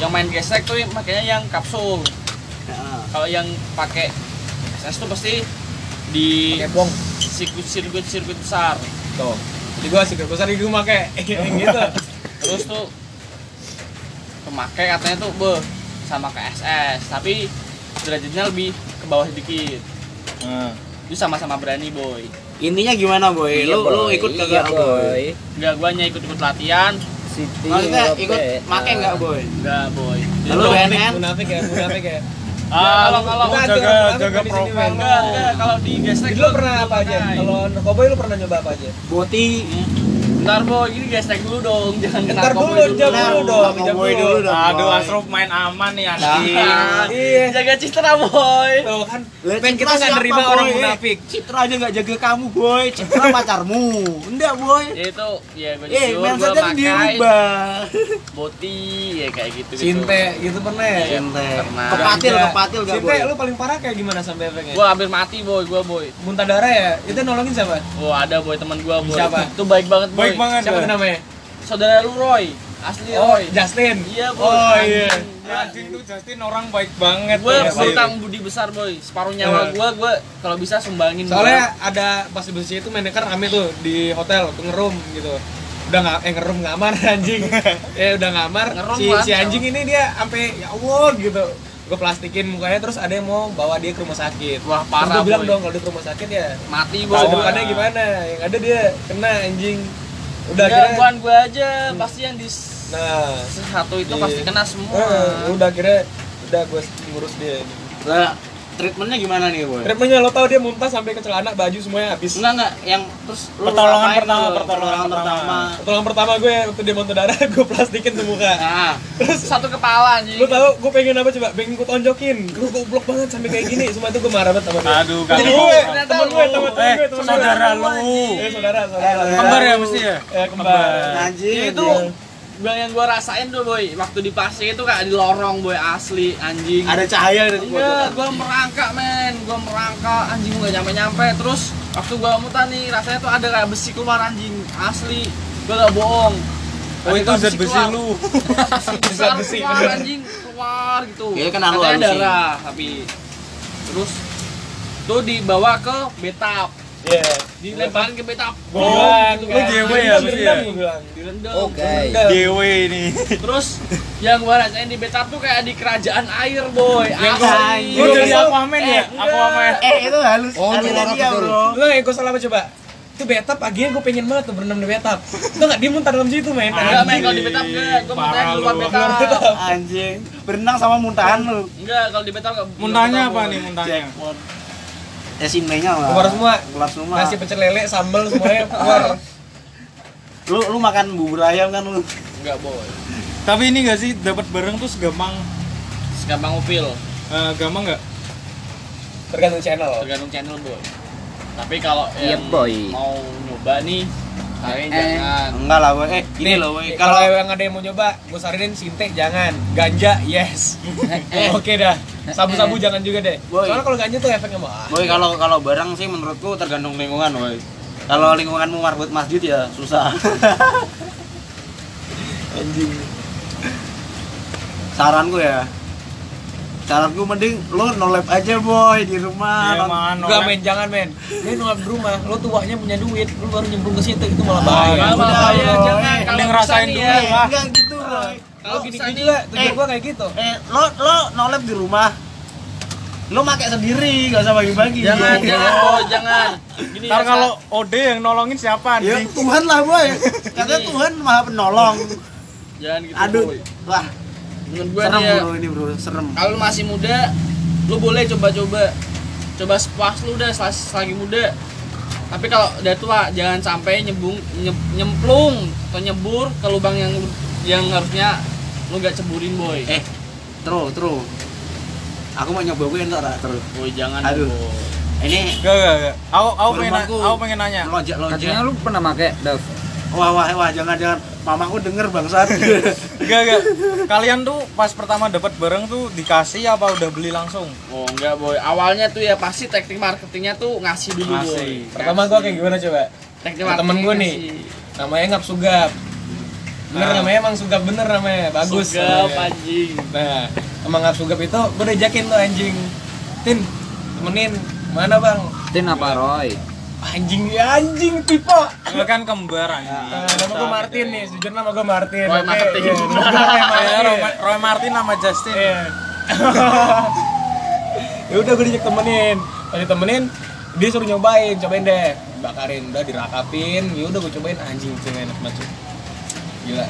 Speaker 4: yang main gesek tuh makanya yang kapsul
Speaker 2: Nah,
Speaker 4: kalau yang pakai SS tuh pasti di
Speaker 3: Pakai bong.
Speaker 4: sirkuit sirkuit sirkuit besar
Speaker 3: Tuh. Di gua sih besar di rumah kayak *laughs* gitu.
Speaker 4: terus tuh pemakai katanya tuh be sama ke SS tapi derajatnya lebih ke bawah sedikit
Speaker 1: Nah.
Speaker 4: itu sama-sama berani boy
Speaker 2: Intinya gimana boy?
Speaker 5: Iya,
Speaker 2: Lu lu
Speaker 5: boy.
Speaker 2: ikut
Speaker 5: Iya,
Speaker 2: kagak boy?
Speaker 4: nggak gue hanya ikut-ikut latihan
Speaker 5: Siti.
Speaker 2: Maksudnya
Speaker 5: Rope.
Speaker 2: ikut make enggak boy?
Speaker 4: nggak boy Jadi
Speaker 2: Lalu
Speaker 4: tuh-
Speaker 2: WNN?
Speaker 3: Munafik ya, munafik ya.
Speaker 1: ah
Speaker 4: kalau-
Speaker 1: lu-
Speaker 4: kalau-
Speaker 1: lu
Speaker 3: Kita ada
Speaker 1: jaga
Speaker 3: orang
Speaker 1: jaga
Speaker 3: di sini,
Speaker 1: profil
Speaker 3: Bang.
Speaker 4: Enggak, enggak. Kalau di gesrek
Speaker 3: Jadi lo pernah apa aja? Kalau narkoboy lo pernah nyoba apa aja?
Speaker 2: Boti.
Speaker 4: Bentar, Bo. Ini gesrek dulu dong. Jangan kena
Speaker 3: Ntar dulu, jam
Speaker 2: Nah,
Speaker 3: dulu dong,
Speaker 2: narkoboy
Speaker 3: jam dulu.
Speaker 2: dulu dong.
Speaker 1: aduh
Speaker 2: Boy.
Speaker 1: Asrop main aman nih anjing
Speaker 3: Iya.
Speaker 4: Jaga citra, boy.
Speaker 3: Tuh kan,
Speaker 2: Lah,
Speaker 3: Pen, kita
Speaker 2: Citra
Speaker 3: nggak
Speaker 2: siapa,
Speaker 3: nerima orang
Speaker 2: Boy?
Speaker 3: munafik.
Speaker 2: Citra aja nggak jaga kamu, boy. Citra pacarmu. Enggak, boy.
Speaker 4: Ya itu, ya gue
Speaker 2: Eh,
Speaker 4: jujur, gue
Speaker 2: mindsetnya
Speaker 4: pakai
Speaker 2: diubah.
Speaker 4: boti, ya kayak gitu.
Speaker 3: Cinte gitu pernah ya?
Speaker 4: Iya.
Speaker 2: Cinte.
Speaker 4: Pernah.
Speaker 2: Kepatil, kepatil gak,
Speaker 3: Cinte,
Speaker 2: boy.
Speaker 3: lo paling parah kayak gimana sampai efeknya?
Speaker 4: Gue hampir mati, boy. Gue, boy.
Speaker 3: Muntah darah ya? Itu nolongin siapa?
Speaker 4: Oh, ada boy teman gue, boy.
Speaker 3: Siapa?
Speaker 4: Itu baik banget, boy.
Speaker 1: baik banget
Speaker 3: Siapa
Speaker 1: dah.
Speaker 3: tuh namanya?
Speaker 4: Saudara lu, Roy. Asli,
Speaker 3: Oh,
Speaker 4: Roy.
Speaker 3: Justin.
Speaker 4: Iya, boy.
Speaker 3: Oh iya.
Speaker 1: anjing tuh Justin orang baik banget
Speaker 4: Gue
Speaker 1: Iya, Boy.
Speaker 4: berutang budi besar, boy. Separuh nyawa
Speaker 3: Iya.
Speaker 4: gue, gue kalau bisa sumbangin.
Speaker 3: Soalnya ada pas di Besi itu manajer rame tuh di hotel tuh ngerum gitu. Udah nggak eh ngerum ngamar *laughs* anjing. eh udah ngamar.
Speaker 4: Ngerum
Speaker 3: si,
Speaker 4: lah,
Speaker 3: si anjing
Speaker 4: ngerum.
Speaker 3: ini dia sampai ya Allah gitu. Gue plastikin mukanya terus ada yang mau bawa dia ke rumah sakit.
Speaker 4: Wah,
Speaker 3: Terus
Speaker 4: parah,
Speaker 3: gua bilang
Speaker 4: Boy.
Speaker 3: dong kalau dia ke rumah sakit ya
Speaker 4: mati, boy.
Speaker 3: tahu
Speaker 1: Boy.
Speaker 3: bukannya gimana. Yang ada dia kena anjing.
Speaker 4: Udah,
Speaker 3: Udah akhirnya
Speaker 4: bukan gue aja. Pasti yang di
Speaker 3: Nah,
Speaker 4: satu itu
Speaker 3: Iya.
Speaker 4: pasti kena semua.
Speaker 3: eh, udah akhirnya udah gue ngurus dia.
Speaker 2: Lah, treatmentnya gimana nih, boy?
Speaker 3: Treatmentnya lo tau dia muntah sampai ke celana, baju semuanya habis.
Speaker 4: Nah.
Speaker 2: Enggak, enggak. Yang terus lu
Speaker 1: Pertolongan
Speaker 2: ngapain,
Speaker 1: pertama,
Speaker 2: Boy?
Speaker 1: pertolongan
Speaker 2: pertama.
Speaker 3: Pertolongan pertama gue waktu dia muntah darah, *laughs* gue plastikin ke muka.
Speaker 2: Nah,
Speaker 4: Satu kepala anjing.
Speaker 3: lu tahu gue pengen apa coba pengen gue tonjokin lu goblok banget sampai kayak gini semua itu gue marah banget sama dia
Speaker 1: Aduh, gak
Speaker 3: jadi
Speaker 1: mau.
Speaker 3: gue temen gue temen
Speaker 1: eh
Speaker 3: gue temen
Speaker 1: saudara
Speaker 3: gue.
Speaker 1: lu
Speaker 3: eh saudara saudara
Speaker 2: Eh,
Speaker 1: kembar ya mesti ya
Speaker 3: eh kembar
Speaker 2: Nah, anjing
Speaker 4: Iya,
Speaker 2: Iya.
Speaker 4: itu gua yang gua rasain tuh boy waktu di pasir itu kayak di lorong boy asli anjing.
Speaker 2: ada cahaya dari
Speaker 4: Iya, gua merangkak men, gua merangkak anjing gua nggak nyampe nyampe. Terus waktu gua mutar nih rasanya tuh ada kayak besi keluar anjing asli. Gua gak bohong.
Speaker 1: oh
Speaker 4: Ada
Speaker 1: itu
Speaker 4: kayak
Speaker 1: zat besi
Speaker 4: keluar.
Speaker 1: lu
Speaker 4: Besi besar
Speaker 3: besi,
Speaker 4: keluar
Speaker 3: bener.
Speaker 4: anjing keluar gitu.
Speaker 2: Iya, kena lu
Speaker 4: Katanya
Speaker 2: halusin.
Speaker 4: darah tapi terus tuh dibawa ke betap
Speaker 3: iya
Speaker 4: dilemparin ke betap Oh, gitu kan.
Speaker 3: Bilang,
Speaker 1: Lu JW ya,
Speaker 3: direndam,
Speaker 1: mesti ya?
Speaker 3: gua bilang.
Speaker 4: direndam Oh,
Speaker 5: Oke.
Speaker 3: Direndam.
Speaker 1: DW ini
Speaker 4: Terus yang gua rasain di Betap tuh kayak di kerajaan air, boy. Asli.
Speaker 1: lu
Speaker 3: Gua
Speaker 1: jadi
Speaker 3: besok-
Speaker 1: Aquaman ya
Speaker 4: eh,
Speaker 1: Aquaman
Speaker 2: eh itu halus
Speaker 5: Oh,
Speaker 2: halus
Speaker 5: orang
Speaker 2: dia,
Speaker 5: betul.
Speaker 2: bro
Speaker 3: lu yang gue salah apa coba itu betap paginya gue pengen banget tuh berenam di betap lu nggak dia muntah dalam situ men
Speaker 4: Enggak, men,
Speaker 1: Anjing.
Speaker 4: kalau di Betap enggak. Gua mau
Speaker 1: Parah
Speaker 4: tanya di luar
Speaker 1: lu.
Speaker 4: Betap.
Speaker 2: anjing berenang sama muntahan lu
Speaker 4: Enggak, kalau di Betap enggak.
Speaker 1: ya. muntahnya apa nih muntahnya
Speaker 2: jackpot SMB-nya lah.
Speaker 3: Keluar semua.
Speaker 2: Keluar semua.
Speaker 3: nasi pecel lele
Speaker 1: *laughs*
Speaker 3: sambel semuanya keluar
Speaker 2: Lu lu makan bubur ayam kan lu.
Speaker 3: nggak boy
Speaker 1: Tapi ini nggak sih dapat barang tuh segampang
Speaker 4: gampang upil
Speaker 1: eh, gampang nggak?
Speaker 3: tergantung channel
Speaker 4: tergantung channel boy tapi kalau
Speaker 5: Oh. Iya,
Speaker 4: yang
Speaker 5: boy.
Speaker 4: mau nyoba nih kalian
Speaker 5: Eh.
Speaker 4: jangan
Speaker 2: Enggak lah, boy. Eh, ini loh, boy.
Speaker 3: Nih,
Speaker 2: Kalau
Speaker 3: kalau yang ada yang mau nyoba gue saranin sinte jangan ganja yes
Speaker 2: Eh,
Speaker 3: *laughs* oke dah sabu-sabu jangan juga deh
Speaker 2: Boy.
Speaker 3: soalnya kalau ganja tuh efeknya mah
Speaker 2: boy Eh. kalau kalau barang sih menurutku tergantung lingkungan, boy. Kalau lingkunganmu marbut masjid ya susah. *laughs* Anjing. Saranku ya. Saranku mending lu no lab aja, boy, di rumah.
Speaker 3: Iya,
Speaker 1: Ya,
Speaker 2: Nont-
Speaker 1: man,
Speaker 3: Enggak
Speaker 1: oleh-
Speaker 3: men, jangan men. Lu nolak di rumah, lu tuanya punya duit, lu baru nyemplung ke situ itu malah
Speaker 2: Ah,
Speaker 3: bahaya.
Speaker 2: iya,
Speaker 3: Udah,
Speaker 2: bahaya.
Speaker 3: ya.
Speaker 4: jangan
Speaker 2: eh,
Speaker 4: kalau
Speaker 1: mending
Speaker 4: bisa
Speaker 1: rasain
Speaker 4: nih
Speaker 1: dulu
Speaker 4: ya.
Speaker 2: Eh,
Speaker 1: lah.
Speaker 2: enggak gitu, boy.
Speaker 3: Kalau
Speaker 4: Kalau ya, bisa
Speaker 3: gini-gini
Speaker 4: nih.
Speaker 3: juga, tujuan
Speaker 2: Eh.
Speaker 3: gua kayak gitu.
Speaker 2: Eh, lo lo no lab di rumah. Lo make sendiri, gak usah bagi-bagi.
Speaker 4: jangan jangan boy jangan gini
Speaker 1: Ntar
Speaker 4: ya,
Speaker 1: kalau Ode yang nolongin siapa
Speaker 2: Ya
Speaker 1: anjing?
Speaker 2: Tuhan lah boy. Katanya
Speaker 4: Ini-
Speaker 2: Tuhan maha penolong.
Speaker 4: Sa. jangan gitu
Speaker 2: Aduh,
Speaker 4: boy
Speaker 2: wah
Speaker 4: menurut gua
Speaker 2: serem
Speaker 4: nih ya,
Speaker 2: bro ini bro, serem.
Speaker 4: kalau lu masih muda lu boleh coba-coba coba sepuas lu udah selagi muda tapi kalau udah tua jangan sampai nyembung nye- nyemplung atau nyebur ke lubang yang yang harusnya lu gak ceburin boy
Speaker 2: Eh, true true. Aku mau nyobain entar terus.
Speaker 4: boy jangan
Speaker 2: Aduh.
Speaker 4: boy.
Speaker 2: Ini
Speaker 1: Gak gak gak. Aku aku pengen
Speaker 2: Rumahku.
Speaker 1: aku pengen nanya.
Speaker 2: lonjak
Speaker 5: Katanya
Speaker 2: lonjak.
Speaker 5: lu pernah make, Dav.
Speaker 2: Wah wah wah jangan jangan. Mamaku denger bangsat.
Speaker 1: Gak gak. Kalian tuh pas pertama dapat barang tuh dikasih apa udah beli langsung?
Speaker 4: Oh enggak boy, awalnya tuh ya pasti teknik marketingnya tuh ngasih dulu
Speaker 1: Ngasih.
Speaker 4: boy.
Speaker 3: Pertama gua kayak gimana coba?
Speaker 4: teknik
Speaker 3: Temen gua nih. Namanya ngap sugap. Bener
Speaker 1: Ah.
Speaker 3: namanya emang sugap bener namanya,
Speaker 4: bagus.
Speaker 3: bagus.
Speaker 4: Sugap
Speaker 3: namanya.
Speaker 4: anjing.
Speaker 3: Nah, emang ngap sugap itu gua udah jakin tuh anjing. Tin, temenin. Mana bang?
Speaker 5: Tin apa Roy?
Speaker 3: Anjing, anjing tipe.
Speaker 1: Lu kan kembar anjing.
Speaker 3: Nah, nama gua Martin nih, sejujurnya nama gua Martin. Iya.
Speaker 4: Roy
Speaker 3: oke?
Speaker 4: Martin.
Speaker 3: Iya, nama gua Roy
Speaker 1: Kayak
Speaker 3: Martin.
Speaker 1: Roy,
Speaker 3: *laughs*
Speaker 1: Roy Martin sama Justin.
Speaker 3: Iya. *laughs* ya udah gue diajak temenin. Pas ditemenin, dia suruh nyobain, cobain deh. Bakarin, udah dirakapin. Ya udah gue cobain anjing itu enak banget. cuy. Gila.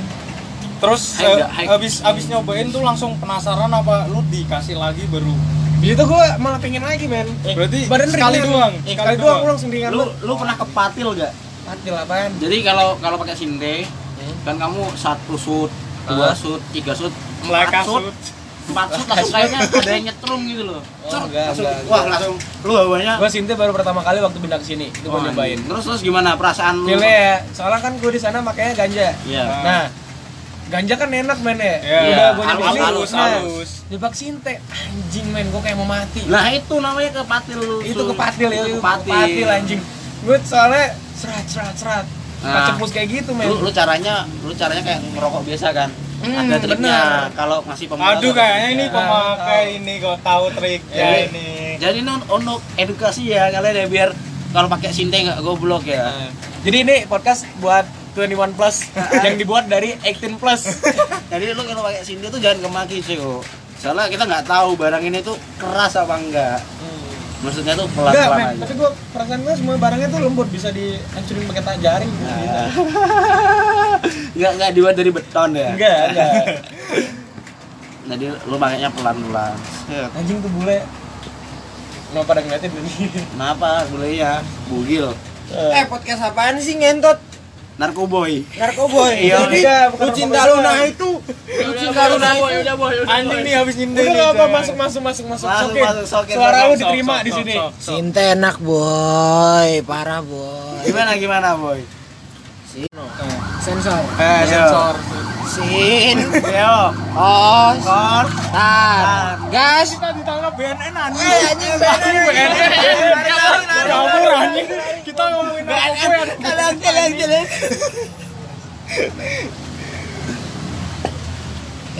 Speaker 1: Terus
Speaker 2: Hai,
Speaker 1: eh,
Speaker 2: gak, hai.
Speaker 1: abis abis nyobain tuh langsung penasaran apa lu dikasih lagi baru?
Speaker 3: Di situ gue Ya malah pengen lagi, men.
Speaker 1: Berarti
Speaker 3: Badan
Speaker 1: sekali
Speaker 3: ringan.
Speaker 1: doang.
Speaker 3: Eh, Sekali doang gue langsung ringan
Speaker 2: lu
Speaker 3: lu.
Speaker 2: lu pernah kepatil gak?
Speaker 3: Mati apaan?
Speaker 2: Jadi kalau kalau pakai sinde
Speaker 3: Hmm.
Speaker 2: kan kamu satu sud, dua sud, tiga sud, empat
Speaker 1: Melekas
Speaker 2: sud, empat sud langsung kayaknya ada yang nyetrum gitu loh.
Speaker 3: Oh,
Speaker 2: Cer,
Speaker 3: enggak,
Speaker 2: langsung,
Speaker 3: enggak,
Speaker 2: wah
Speaker 3: enggak.
Speaker 2: langsung lu hawanya.
Speaker 3: Gue Sinte baru pertama kali waktu pindah ke sini. Itu gue
Speaker 2: Wah,
Speaker 3: nyobain.
Speaker 2: Terus terus gimana perasaan lu?
Speaker 3: Pilih ya, soalnya kan gue di sana makanya ganja.
Speaker 2: Iya.
Speaker 3: Nah, ganja kan enak men ya.
Speaker 1: Iya.
Speaker 3: Udah gue
Speaker 2: Halus,
Speaker 3: nyobain.
Speaker 2: halus,
Speaker 3: Nah,
Speaker 1: halus.
Speaker 3: Jebak sinte, anjing men, gue kayak mau mati.
Speaker 2: Nah itu namanya kepatil lu.
Speaker 3: itu
Speaker 2: tuh.
Speaker 3: kepatil
Speaker 2: Itu
Speaker 3: ya, itu
Speaker 2: kepatil.
Speaker 3: kepatil anjing. Gue soalnya serat serat serat.
Speaker 2: Nah.
Speaker 3: Kacepus kayak gitu men.
Speaker 2: Lu, lu caranya, lu caranya kayak ngerokok biasa kan?
Speaker 3: Hmm,
Speaker 2: Ada triknya
Speaker 3: benar.
Speaker 2: kalau masih pemula.
Speaker 1: Aduh
Speaker 2: tuh
Speaker 1: kayaknya
Speaker 2: ada
Speaker 1: ini
Speaker 2: triknya.
Speaker 1: pemakai ini kok tahu triknya
Speaker 2: Jadi-
Speaker 1: ini.
Speaker 2: Jadi ini un- untuk edukasi ya kalian ya biar kalau pakai sinte nggak goblok ya.
Speaker 3: Nah, Jadi ini podcast buat
Speaker 2: *laughs*
Speaker 3: 21 plus yang dibuat dari 18 plus.
Speaker 2: Jadi lu kalau pakai sinte tuh jangan kemaki sih kok. Soalnya kita nggak tahu barang ini tuh keras apa enggak. Maksudnya tuh
Speaker 3: Enggak
Speaker 2: pelan-pelan
Speaker 3: men,
Speaker 2: aja.
Speaker 3: tapi gue perasaan gue semua barangnya tuh lembut bisa dihancurin pakai tangan jaring. gitu.
Speaker 2: Nah, Enggak enggak dibuat dari beton ya.
Speaker 3: Enggak,
Speaker 2: *laughs*
Speaker 3: enggak.
Speaker 2: Jadi lu pakainya pelan-pelan. Set.
Speaker 3: Anjing tuh bule. Kenapa pada ngeliatin ini?
Speaker 2: Kenapa? Boleh ya. Bugil.
Speaker 6: Eh podcast apaan sih ngentot?
Speaker 2: Narkoboy.
Speaker 6: Narkoboy.
Speaker 3: Iya,
Speaker 6: Jadi
Speaker 3: iya,
Speaker 6: lu
Speaker 3: bukan
Speaker 6: cinta
Speaker 3: narkoboy.
Speaker 6: lu nah itu. Lu cinta lu nah itu.
Speaker 4: udah boy, udah
Speaker 1: Anjing nih habis nyinde
Speaker 3: Udah
Speaker 1: nih,
Speaker 3: nggak apa
Speaker 1: coy.
Speaker 3: masuk masuk masuk masuk
Speaker 2: Masuk,
Speaker 3: sokin.
Speaker 2: masuk, sokin,
Speaker 3: Suara
Speaker 2: sokin,
Speaker 3: lu
Speaker 1: Sok,
Speaker 3: diterima
Speaker 1: sok,
Speaker 3: di
Speaker 1: sok,
Speaker 3: sini.
Speaker 1: sok, sok.
Speaker 6: Cinta enak boy, parah boy.
Speaker 2: Gimana gimana, boy?
Speaker 6: Sensor.
Speaker 3: Eh, sensor. *laughs*
Speaker 6: Sin.
Speaker 2: Yo,
Speaker 6: Oh,
Speaker 2: kor.
Speaker 6: tar. Gas.
Speaker 1: Kita ditangkap BNN anjing.
Speaker 6: Eh, anjing, BNN.
Speaker 1: Ya ampun anjing. Kita ngomongin narkoba ya.
Speaker 6: Kalian kalian kalian.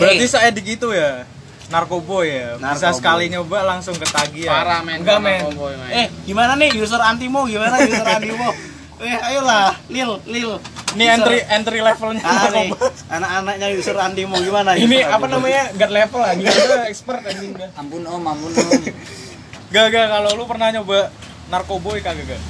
Speaker 1: Berarti saya gitu ya. Narkoboy ya. Bisa
Speaker 2: Narkoboy.
Speaker 1: sekali nyoba langsung ya? ketagihan.
Speaker 4: Parah men.
Speaker 3: Enggak,
Speaker 4: sama
Speaker 3: men.
Speaker 4: cowboy, men.
Speaker 2: Eh, gimana nih user antimo? Gimana user
Speaker 3: *laughs*
Speaker 2: antimo? Eh, ayolah, Lil, Lil.
Speaker 1: Ini
Speaker 2: User-
Speaker 1: entry entry levelnya
Speaker 2: Ah, nih,
Speaker 1: *laughs* narkoba.
Speaker 2: anak-anaknya user antimo gimana?
Speaker 3: Ini
Speaker 2: user
Speaker 3: apa
Speaker 2: antimo?
Speaker 3: namanya? God level lagi. Kita expert anjing dah.
Speaker 5: Ampun om, ampun om.
Speaker 1: Gak gak kalau lu pernah nyoba narkoboy kagak gak?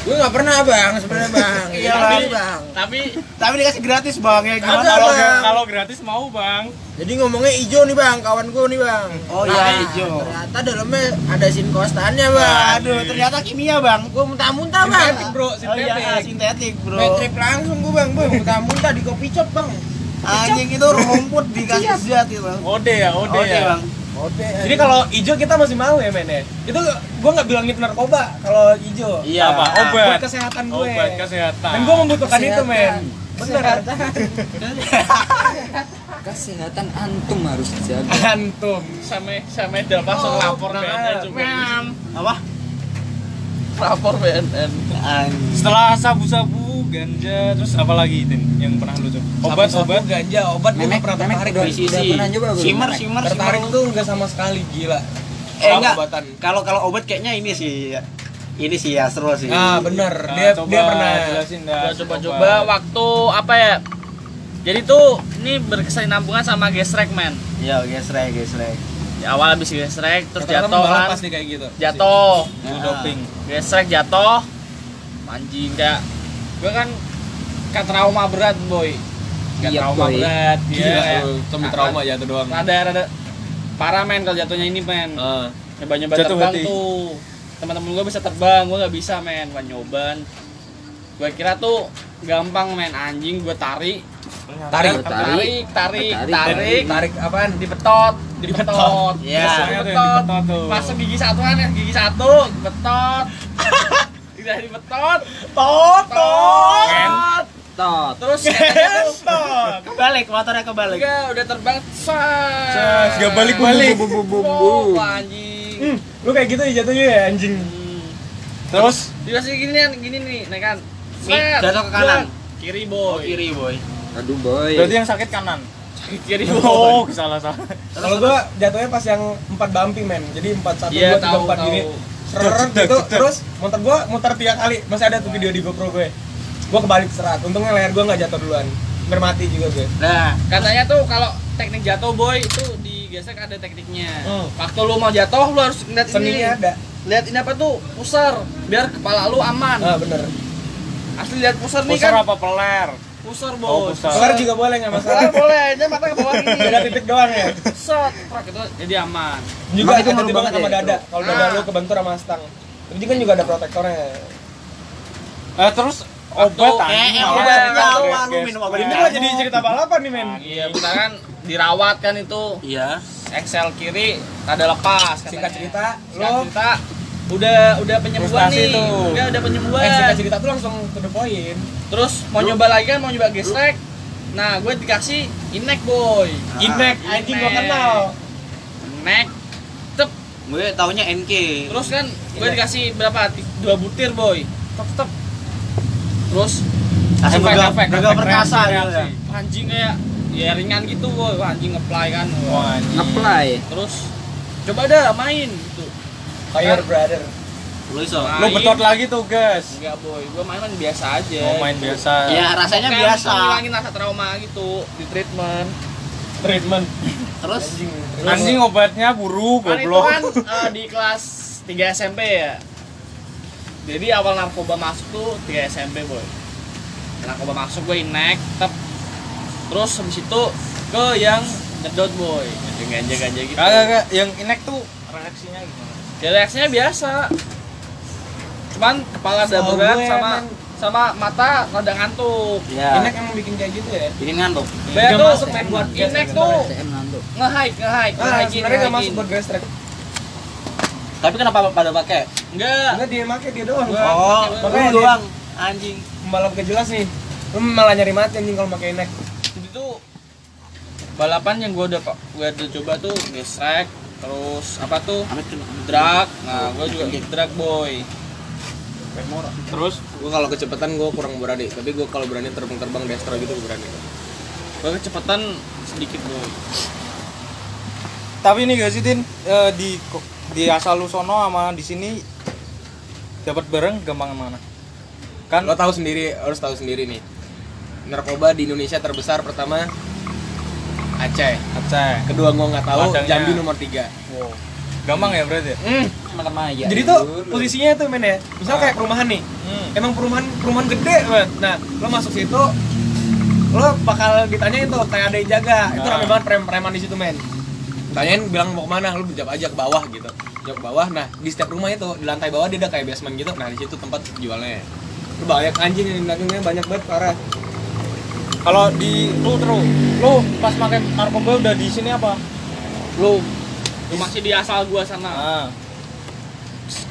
Speaker 3: Gue nggak pernah bang, sebenarnya *laughs* bang.
Speaker 6: Iya
Speaker 1: Tapi-
Speaker 6: bang.
Speaker 4: tapi
Speaker 6: Tapi dikasih gratis bang ya gimana
Speaker 1: Kalau
Speaker 6: bang?
Speaker 1: kalau gratis mau bang.
Speaker 3: Jadi ngomongnya ijo nih bang, kawan gue nih bang.
Speaker 6: Oh iya
Speaker 4: Nah,
Speaker 6: hijau.
Speaker 3: Ternyata dalamnya ada sin kostannya bang.
Speaker 6: Waduh, ternyata kimia bang.
Speaker 3: Gue muntah-muntah bang.
Speaker 6: Sintetik,
Speaker 3: bro,
Speaker 6: Oh iya, sintetik bro.
Speaker 3: Metrip langsung gue bang, gue muntah-muntah di kopi shop bang.
Speaker 6: Anjing itu rumput dikasih zat itu bang.
Speaker 1: Ode ya, ode,
Speaker 6: Oke
Speaker 1: ya.
Speaker 6: bang.
Speaker 3: Oke. Jadi kalau ijo kita masih mau ya men ya. Itu gue nggak bilang itu narkoba kalau ijo.
Speaker 1: Iya,
Speaker 6: Ah.
Speaker 1: apa? Obat.
Speaker 3: Buat kesehatan gue.
Speaker 1: Obat kesehatan.
Speaker 3: Dan gue membutuhkan itu men. Bener.
Speaker 5: Kesehatan antum harus dijaga.
Speaker 3: Antum.
Speaker 4: sama sama dalam langsung lapor BNN juga
Speaker 6: Apa?
Speaker 4: lapor BNN
Speaker 6: Anjing.
Speaker 1: Setelah sabu-sabu, ganja, terus apa lagi Tin yang pernah lu coba?
Speaker 3: Oh,
Speaker 1: Obat-obat.
Speaker 3: Sabu-sabu, ganja, obat gue
Speaker 5: Memek,
Speaker 3: nggak pernah
Speaker 5: memek
Speaker 3: tertarik.
Speaker 5: udah,
Speaker 3: men.
Speaker 4: Isi-isi.
Speaker 5: udah pernah nyoba belum?
Speaker 6: Shimmer,
Speaker 5: Memek?
Speaker 6: shimmer,
Speaker 3: Tertarik
Speaker 6: shimmer.
Speaker 3: tuh nggak sama sekali gila.
Speaker 6: Eh enggak.
Speaker 3: Pengobatan.
Speaker 6: Kalau kalau obat kayaknya ini sih. Ini sih ya seru sih.
Speaker 3: Nah, bener.
Speaker 1: Nah,
Speaker 3: Dia dia
Speaker 1: coba
Speaker 3: pernah
Speaker 1: jelasin dah.
Speaker 4: Gua coba-coba waktu apa ya jadi tuh ini berkesinambungan sama gesrek men
Speaker 6: Iya, gesrek, gesrek.
Speaker 4: Di awal habis gesrek terus
Speaker 3: Rata-rata
Speaker 4: jatuh
Speaker 3: pembalap
Speaker 4: kan
Speaker 3: pasti kayak gitu.
Speaker 4: jatuh
Speaker 1: Itu doping.
Speaker 4: gesrek jatuh anjing kayak gue kan kayak trauma berat boy kayak
Speaker 5: Iya,
Speaker 4: trauma
Speaker 5: boy.
Speaker 4: berat
Speaker 3: Gila,
Speaker 4: iya kayak
Speaker 3: lu sampai
Speaker 1: ya.
Speaker 3: trauma jatuh doang.
Speaker 4: rada rada parah men kalau jatuhnya ini men
Speaker 3: Ah.
Speaker 4: nyoba nyoba
Speaker 1: Jatuh
Speaker 4: terbang
Speaker 1: hati.
Speaker 4: tuh teman-teman gue bisa terbang gue nggak bisa men gue nyoban gue kira tuh gampang men anjing gue tarik
Speaker 5: Tarik.
Speaker 4: tarik
Speaker 3: Tarik.
Speaker 4: tarik
Speaker 5: Tarik.
Speaker 4: tarik
Speaker 3: Tarik apaan?
Speaker 4: dipetot dipetot
Speaker 6: Iya.
Speaker 1: Biasanya tuh yang
Speaker 4: Betot.
Speaker 1: dipetot tuh.
Speaker 4: masuk gigi satu kan yang gigi satu dipetot tidak dipetot
Speaker 6: Toto.
Speaker 4: tot
Speaker 5: Tot.
Speaker 4: terus katanya tuh
Speaker 6: Kebalik, motornya kebalik.
Speaker 4: enggak udah terbang
Speaker 1: Cas,
Speaker 4: sas
Speaker 1: nggak balik-balik.
Speaker 5: Bu, bu, bu, bu, bu.
Speaker 4: Wow, anjing
Speaker 3: Lu kayak gitu ya jatuhnya ya anjing.
Speaker 4: Hmm.
Speaker 1: Terus
Speaker 4: Dia sih gini nih, gini nih, naik kan.
Speaker 6: Nih,
Speaker 4: Set,
Speaker 6: jatuh ke kanan.
Speaker 4: jat. Kiri boy. kiri.
Speaker 6: Kiri, boy.
Speaker 5: Aduh
Speaker 2: Iya.
Speaker 5: boy.
Speaker 1: berarti yang sakit kanan.
Speaker 4: *laughs* Kiri
Speaker 1: Oh,
Speaker 4: boy.
Speaker 1: salah-salah.
Speaker 3: Kalau gua jatuhnya pas yang empat bumpy men. Jadi empat satu
Speaker 4: Iya,
Speaker 3: dua tiga
Speaker 4: tahu,
Speaker 3: empat
Speaker 4: tahu.
Speaker 3: gini. Seret
Speaker 1: Cedak,
Speaker 3: gitu.
Speaker 1: cedak.
Speaker 3: Terus motor gua muter tiga kali. Masih ada tuh video di GoPro gue. Gua kebalik serat. Untungnya leher gua nggak jatuh duluan. Hampir mati juga gue.
Speaker 6: Nah,
Speaker 4: Katanya tuh kalau teknik jatuh boy itu digesek ada tekniknya.
Speaker 3: Hmm.
Speaker 4: Waktu lu mau jatuh lu harus lihat ini.
Speaker 3: Seninya ada.
Speaker 4: Lihat ini apa tuh? Pusar biar kepala lu aman.
Speaker 3: Ah, bener.
Speaker 4: Asli lihat pusar nih
Speaker 1: Pusar
Speaker 4: kan.
Speaker 1: apa peler?
Speaker 4: Pusar boy.
Speaker 1: Oh, pusar.
Speaker 3: Sekarang juga boleh nggak masalah.
Speaker 4: Pusar boleh, aja mata ke bawah gini.
Speaker 3: Beda titik doang ya.
Speaker 4: Set, prak, itu jadi aman.
Speaker 3: juga
Speaker 5: Emang itu
Speaker 3: itu
Speaker 5: ngaruh
Speaker 3: banget
Speaker 5: banget
Speaker 3: sama
Speaker 5: ya,
Speaker 3: dada
Speaker 5: bro?
Speaker 3: kalau dada
Speaker 4: Ah.
Speaker 3: lu kebentur sama stang tapi kan juga ada protektornya
Speaker 1: Eh, terus obat
Speaker 4: Waktu-
Speaker 1: anjing,
Speaker 4: eh, eh,
Speaker 1: malah
Speaker 4: obat
Speaker 1: sakit,
Speaker 6: nyawa,
Speaker 1: guys,
Speaker 6: lu
Speaker 1: guys.
Speaker 6: minum obat
Speaker 3: ini malah jadi cerita balapan nih men
Speaker 4: Iya, kita kan dirawat kan itu.
Speaker 6: iya.
Speaker 4: Excel kiri ada lepas katanya.
Speaker 3: singkat cerita
Speaker 4: Singkat
Speaker 3: lo
Speaker 4: cerita udah udah penyembuhan nih.
Speaker 3: Frustasi tuh.
Speaker 4: Udah udah penyembuhan.
Speaker 3: eh, singkat cerita tuh langsung to the point
Speaker 4: Terus mau nyoba lagi kan mau nyoba gesrek. Nah, gue dikasih inek boy.
Speaker 3: inek
Speaker 4: Ah.
Speaker 3: anjing gua kenal
Speaker 4: Inek. Tep.
Speaker 6: Gue taunya NK.
Speaker 4: Terus kan gue dikasih berapa? Ti- Dua butir boy. Tep tep. Terus
Speaker 6: langsung
Speaker 4: efek,
Speaker 6: gagal
Speaker 4: efek,
Speaker 6: gagal
Speaker 4: efek,
Speaker 6: perkasa
Speaker 4: reaksi,
Speaker 6: gitu ya.
Speaker 4: reaksi. Anjing kayak ya ringan gitu boy. Wah, anjing ngeplay kan. Wah.
Speaker 1: Wah, anjing.
Speaker 5: Apply.
Speaker 4: Terus coba dah main gitu.
Speaker 3: fire brother
Speaker 6: Lu iso.
Speaker 1: Lu
Speaker 4: Iya.
Speaker 1: betot lagi tuh, guys.
Speaker 4: Enggak boy, gue main-main biasa aja.
Speaker 1: Mau main biasa.
Speaker 2: Iya.
Speaker 6: Ya rasanya
Speaker 4: Kayak
Speaker 6: biasa.
Speaker 4: untuk ngilangin rasa trauma gitu di treatment.
Speaker 3: treatment
Speaker 6: Terus
Speaker 3: anjing
Speaker 1: Anjing obatnya buru,
Speaker 4: Kan itu kan
Speaker 1: goblok.
Speaker 4: eh, di kelas 3 SMP ya. Jadi awal narkoba masuk tuh 3 SMP boy. Narkoba masuk gue inek, tep. Terus habis itu ke yang ngedot boy, ganja-ganja gitu.
Speaker 1: Kagak, kagak. Yang inek tuh reaksinya gimana?
Speaker 4: Ya, reaksinya biasa. Cuman kepala ada
Speaker 3: Setahu
Speaker 4: berat
Speaker 3: gue,
Speaker 4: sama
Speaker 3: men.
Speaker 4: sama mata rada ngantuk.
Speaker 6: ya
Speaker 2: Iya.
Speaker 3: inek emang bikin kayak gitu ya
Speaker 6: ini ngantuk.
Speaker 4: Bea
Speaker 3: Nggak
Speaker 4: tuh
Speaker 3: masuk, men, buat
Speaker 4: inek
Speaker 3: gesek,
Speaker 4: tuh
Speaker 5: TM ngantuk.
Speaker 4: nge-hike, nge-hike,
Speaker 3: ah
Speaker 4: nge-hike.
Speaker 3: sebenarnya nggak masuk buat grass track
Speaker 6: Tapi kenapa pada pakai?
Speaker 4: Enggak.
Speaker 3: enggak dia make dia doang
Speaker 6: Oh,
Speaker 3: makanya
Speaker 6: lu
Speaker 3: dia-
Speaker 6: doang anjing.
Speaker 3: balap gak jelas nih lu malah nyari mati anjing kalau pakai inek
Speaker 4: itu balapan yang gue udah gue udah coba tuh gesrek terus apa tuh
Speaker 6: Amit kena. amit.
Speaker 4: drag nah gue juga drag boy
Speaker 1: Terus
Speaker 3: gue kalau kecepatan gue kurang berani tapi gue kalau berani terbang-terbang destro gitu gue berani
Speaker 4: gue kecepatan sedikit boy
Speaker 1: tapi ini gak sih Tin Eh, di di asal lu sono sama di sini dapat bareng gampang mana kan
Speaker 3: lo tahu sendiri harus tahu sendiri nih narkoba di Indonesia terbesar pertama Aceh
Speaker 1: Aceh
Speaker 3: kedua gua nggak tahu
Speaker 1: Padangnya.
Speaker 3: Jambi nomor tiga
Speaker 1: wow. gampang ya berarti ya?
Speaker 3: Hmm.
Speaker 7: Sama-sama ya.
Speaker 3: Jadi tuh
Speaker 7: Bur.
Speaker 3: posisinya tuh men ya. Misal kayak perumahan nih.
Speaker 4: Hmm.
Speaker 3: Emang perumahan perumahan gede banget. Nah, lo masuk situ lo bakal ditanyain tuh kayak ada yang jaga.
Speaker 4: Ah.
Speaker 3: Itu
Speaker 1: Nah.
Speaker 3: rame banget preman-preman di situ men. Tanyain bilang mau kemana, lu jawab aja ke bawah gitu. Jawab ke bawah. Nah, di setiap rumah itu di lantai bawah dia ada kayak basement gitu. Nah, di situ tempat jualnya. Lu banyak anjing yang dagangnya banyak banget parah.
Speaker 1: Kalau di lu terus,
Speaker 3: Hmm.
Speaker 1: lu pas pakai narkoba udah di sini apa?
Speaker 4: Belum. Lu masih di asal gua sana.
Speaker 1: Ah.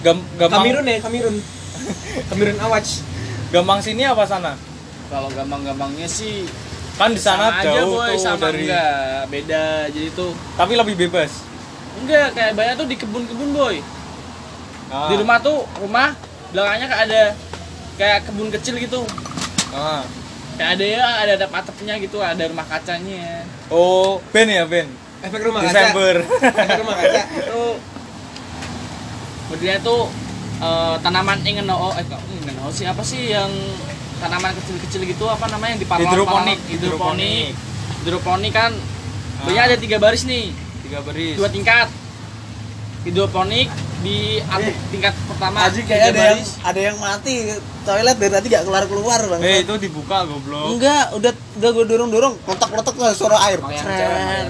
Speaker 1: Gam- gampang
Speaker 3: Kamirun ya,
Speaker 4: *laughs*
Speaker 3: Kamirun. Kamirun Awaj.
Speaker 1: gampang sini apa sana?
Speaker 4: Kalau gampang-gampangnya sih
Speaker 1: Kan di sana
Speaker 4: sama aja
Speaker 1: jauh
Speaker 4: boy,
Speaker 1: tuh
Speaker 4: sama
Speaker 1: dari
Speaker 4: enggak, beda. Jadi tuh
Speaker 1: tapi lebih bebas.
Speaker 4: enggak kayak banyak tuh di kebun-kebun boy.
Speaker 1: Ah.
Speaker 4: Di rumah tuh rumah belakangnya kayak ada kayak kebun kecil gitu.
Speaker 1: Ah.
Speaker 4: Kayak ada ya ada ada atapnya gitu, ada rumah kacanya.
Speaker 1: Oh, Ben ya, Ben.
Speaker 3: Efek rumah
Speaker 1: *laughs*
Speaker 3: kaca.
Speaker 1: Desember.
Speaker 3: Efek rumah kaca.
Speaker 4: Itu berdiri tuh eh, tanaman ingin eh kok ingin sih apa sih yang tanaman kecil-kecil gitu apa namanya yang di parlon
Speaker 1: Hidroponik,
Speaker 4: hidroponik hidroponik kan
Speaker 1: Ah.
Speaker 4: banyak ada tiga baris nih
Speaker 1: Tiga baris.
Speaker 4: dua tingkat hidroponik di atap tingkat pertama
Speaker 2: Aji kayak Eh. ada yang ada yang mati toilet dari tadi gak keluar keluar bang.
Speaker 1: Eh, itu dibuka goblok.
Speaker 2: Enggak, udah udah gue dorong dorong, kotak kotak suara air.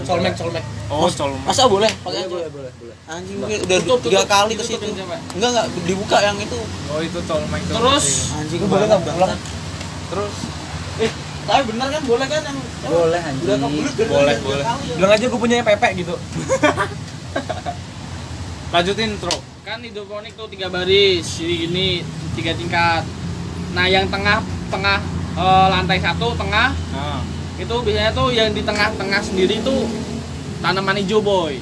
Speaker 3: Colmek, colmek.
Speaker 1: Oh, colmek.
Speaker 2: Masa boleh? Pakai aja. Boleh, Anjing gue udah
Speaker 4: Tutup,
Speaker 2: tiga
Speaker 4: tutup,
Speaker 2: kali ke
Speaker 4: tutupin
Speaker 2: situ.
Speaker 4: siapa?
Speaker 2: Enggak enggak dibuka yang itu.
Speaker 1: Oh, itu Iya. colmek. tuh.
Speaker 4: terus
Speaker 2: Anjing gue boleh enggak pulang?
Speaker 1: terus
Speaker 2: Eh, tapi bener kan boleh kan yang
Speaker 7: Boleh
Speaker 2: udah
Speaker 7: anjing.
Speaker 2: kebelut dari
Speaker 1: Boleh,
Speaker 2: tiga
Speaker 1: boleh.
Speaker 2: kali ya.
Speaker 3: Bilang aja gue punya pepek gitu.
Speaker 1: *laughs* lanjutin, Tro.
Speaker 4: kan hidroponik tuh tiga baris jadi gini tiga tingkat nah yang tengah tengah eh, lantai satu tengah
Speaker 1: Nah,
Speaker 4: itu biasanya tuh yang di tengah-tengah sendiri tuh tanaman hijau boy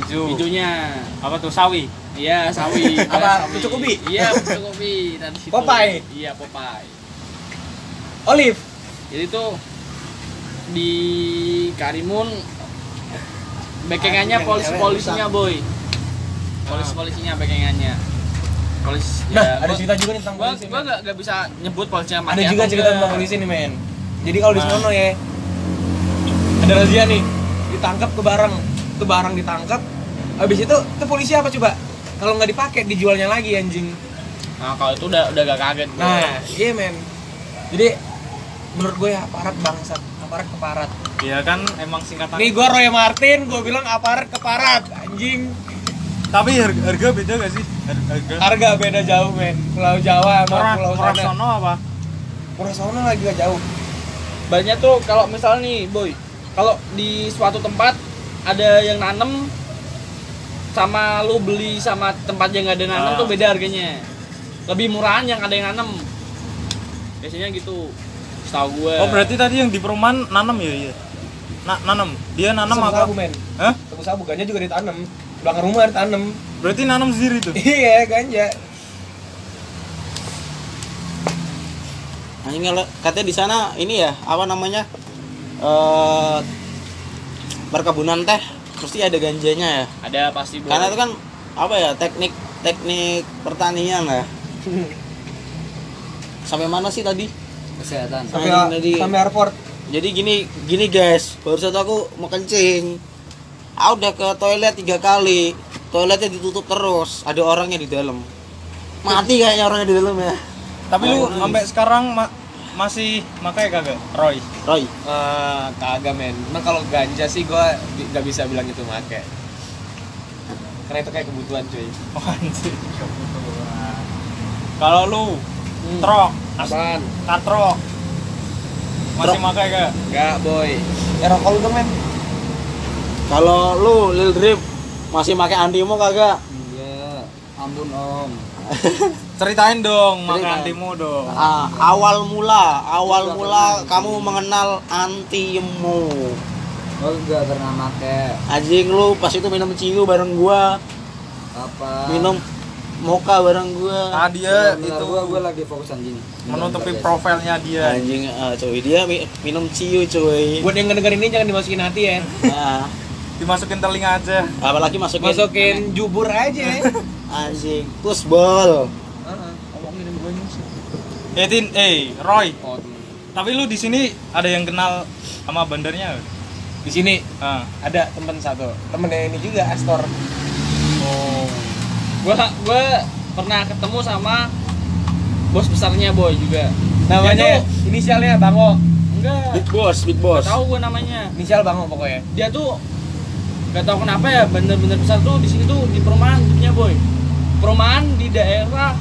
Speaker 1: hijau.
Speaker 4: hijaunya
Speaker 1: Apa tuh sawi?
Speaker 4: iya sawi
Speaker 3: Apa,
Speaker 4: Sawi.
Speaker 3: pucuk ubi?
Speaker 4: iya pucuk ubi tadi situ.
Speaker 3: Popeye?
Speaker 4: iya popai
Speaker 3: Olive.
Speaker 4: jadi tuh di Karimun bekengannya
Speaker 3: Ah,
Speaker 2: Anjing,
Speaker 4: polisi
Speaker 2: cewek
Speaker 4: polisinya boy polisi polisinya bekengannya polis
Speaker 3: Nah, ada
Speaker 4: Ya, gua-
Speaker 3: cerita juga nih tentang
Speaker 4: gua
Speaker 3: polisi.
Speaker 4: gua
Speaker 3: men.
Speaker 4: nggak nggak bisa nyebut polisinya
Speaker 3: Ada
Speaker 4: mati
Speaker 3: juga
Speaker 4: atau
Speaker 3: cerita
Speaker 4: nggak.
Speaker 3: tentang polisi nih, men. Jadi kalau di
Speaker 1: Nah.
Speaker 3: sono ya ada razia nih, ditangkap ke barang, ke barang ditangkap. Habis itu ke polisi apa coba? Kalau nggak dipakai dijualnya lagi anjing.
Speaker 4: nah kalau itu udah udah gak kaget gua.
Speaker 3: Nah, iya men. Jadi menurut gue ya aparat bangsat, aparat keparat.
Speaker 1: Iya kan emang singkatan.
Speaker 3: Nih gue Roy Martin, gue bilang aparat keparat, anjing.
Speaker 1: Tapi harga, harga beda gak sih? Har- Harga.
Speaker 3: Harga beda jauh men, Pulau Jawa sama
Speaker 1: Murah,
Speaker 3: Pulau
Speaker 1: murah
Speaker 3: sana.
Speaker 1: sono apa?
Speaker 3: Pulau sana lagi gak jauh.
Speaker 4: banyak tuh kalau misalnya nih boy kalau di suatu tempat ada yang nanem sama lu beli sama tempat yang nggak ada nanem
Speaker 1: Ah.
Speaker 4: tuh beda harganya lebih murahan yang ada yang nanem biasanya gitu setahu gue
Speaker 1: Oh, berarti tadi yang di perumahan nanam ya, iya. Na nanam. Dia nanam
Speaker 3: Sabu
Speaker 1: apa?
Speaker 3: sabu, men.
Speaker 1: Hah?
Speaker 3: Sabu sabu ganja juga ditanam. Belakang rumah ditanam.
Speaker 1: Berarti nanam sendiri tuh.
Speaker 3: *laughs* Iya, ganja.
Speaker 2: Anjing kalau- katanya di sana ini ya, apa namanya? Eh perkebunan teh pasti ada ganjanya ya.
Speaker 4: ada pasti boy
Speaker 2: Karena itu kan apa ya teknik teknik pertanian ya. Sampai mana sih tadi?
Speaker 7: Kesehatan.
Speaker 3: Sampai
Speaker 2: Anjing tadi.
Speaker 3: sampai airport.
Speaker 2: Jadi gini gini guys, baru saja aku mau kencing. Aku udah ke toilet tiga kali. Toiletnya ditutup terus, ada orangnya di dalam. Mati kayaknya orangnya di dalam ya.
Speaker 1: Tapi lu sampai sekarang ma- masih makai kagak? Roy.
Speaker 2: Roy,
Speaker 3: Ah, kagak men. Emang kalau ganja sih gua bi- nggak bisa bilang itu make. Karena itu kayak kebutuhan cuy.
Speaker 1: Oh, anjir. Kalau lu trok, as-
Speaker 3: Apaan?
Speaker 1: katrok. Masih
Speaker 2: Trok.
Speaker 1: makai kagak?
Speaker 3: Enggak, boy. Ya rokok lu dong, men.
Speaker 2: kalau lu Lil Drip masih pakai antimo kagak?
Speaker 7: Iya. Ampun om.
Speaker 1: Ceritain dong makan
Speaker 2: Ceritain.
Speaker 1: antimu dong.
Speaker 2: *laughs* Ah, awal mula, awal mula kamu mengenal antimo.
Speaker 7: Lo gak pernah make
Speaker 2: Anjing lu pas itu minum ciu bareng gua,
Speaker 7: apa?
Speaker 2: minum moka bareng gua.
Speaker 1: Ah dia itu
Speaker 7: gua gua lagi fokus anjing. Bentar,
Speaker 1: menutupi
Speaker 7: guys.
Speaker 1: profilnya
Speaker 4: Iya.
Speaker 1: dia.
Speaker 2: Anjing eh, cuy dia mi- minum ciu cuy.
Speaker 4: *laughs*
Speaker 3: Buat yang ngedengerin ini jangan dimasukin hati ya.
Speaker 7: Iya,
Speaker 2: Nah,
Speaker 1: Dimasukin telinga aja.
Speaker 2: apalagi masukin
Speaker 7: iya.
Speaker 3: Masukin jubur aja.
Speaker 2: anjing pusbol.
Speaker 1: Eh, Tin, eh, Roy.
Speaker 3: Oh,
Speaker 1: Tapi lu di sini ada yang kenal sama bandarnya? nggak?
Speaker 3: Di sini
Speaker 1: Ah.
Speaker 3: ada temen satu. Temennya ini juga Astor.
Speaker 1: Oh.
Speaker 4: gua gua pernah ketemu sama bos besarnya boy juga
Speaker 3: Namanya inisialnya Bango.
Speaker 4: ya? enggak
Speaker 8: Big boss, big boss.
Speaker 4: tahu gua namanya
Speaker 3: Inisial Bango pokoknya.
Speaker 4: dia tuh nggak tahu kenapa ya bener-bener besar tuh di sini tuh di perumahan hidupnya boy perumahan di daerah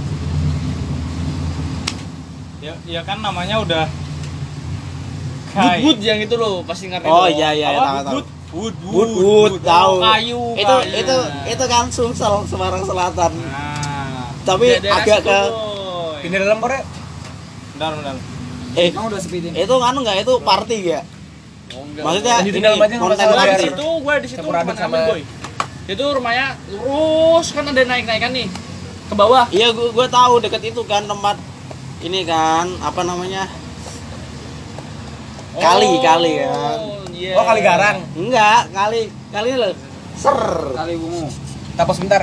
Speaker 1: ya, ya kan namanya udah Kai.
Speaker 4: bubut yang itu loh pasti ngerti lo.
Speaker 2: Oh iya iya iya,
Speaker 1: Apa?
Speaker 2: tahu tahu.
Speaker 1: Wood, wood,
Speaker 2: Wood wood
Speaker 4: Oh,
Speaker 2: tahu.
Speaker 4: kayu
Speaker 2: Itu
Speaker 4: kayu.
Speaker 2: itu itu kan Sumsel Semarang Selatan.
Speaker 1: nah
Speaker 4: Ah.
Speaker 2: Tapi
Speaker 4: Daerah
Speaker 2: agak
Speaker 4: situ,
Speaker 2: ke
Speaker 4: Boy.
Speaker 3: Pindah dalam Korea.
Speaker 1: bentar bentar
Speaker 2: eh
Speaker 9: Emang udah sepi tim?
Speaker 2: itu anu enggak itu party ya?
Speaker 4: Oh, enggak.
Speaker 2: Maksudnya
Speaker 3: Lanjutin
Speaker 2: ini
Speaker 3: dalam aja, nggak
Speaker 2: konten
Speaker 3: masalah,
Speaker 4: Nah, di
Speaker 2: party.
Speaker 3: biar-
Speaker 4: situ gue di situ
Speaker 3: Campur aduk
Speaker 4: cuma sama
Speaker 3: sama-
Speaker 4: boy. Itu rumahnya lurus kan ada naik-naikan nih ke bawah.
Speaker 2: Iya gua gua tahu deket itu kan tempat ini kan apa namanya?
Speaker 4: Oh.
Speaker 2: Kali, kali ya.
Speaker 4: iya.
Speaker 3: Oh, Kali Garang.
Speaker 2: Enggak, kali kali loh. Ser.
Speaker 9: Kali bungu.
Speaker 3: Tapos sebentar.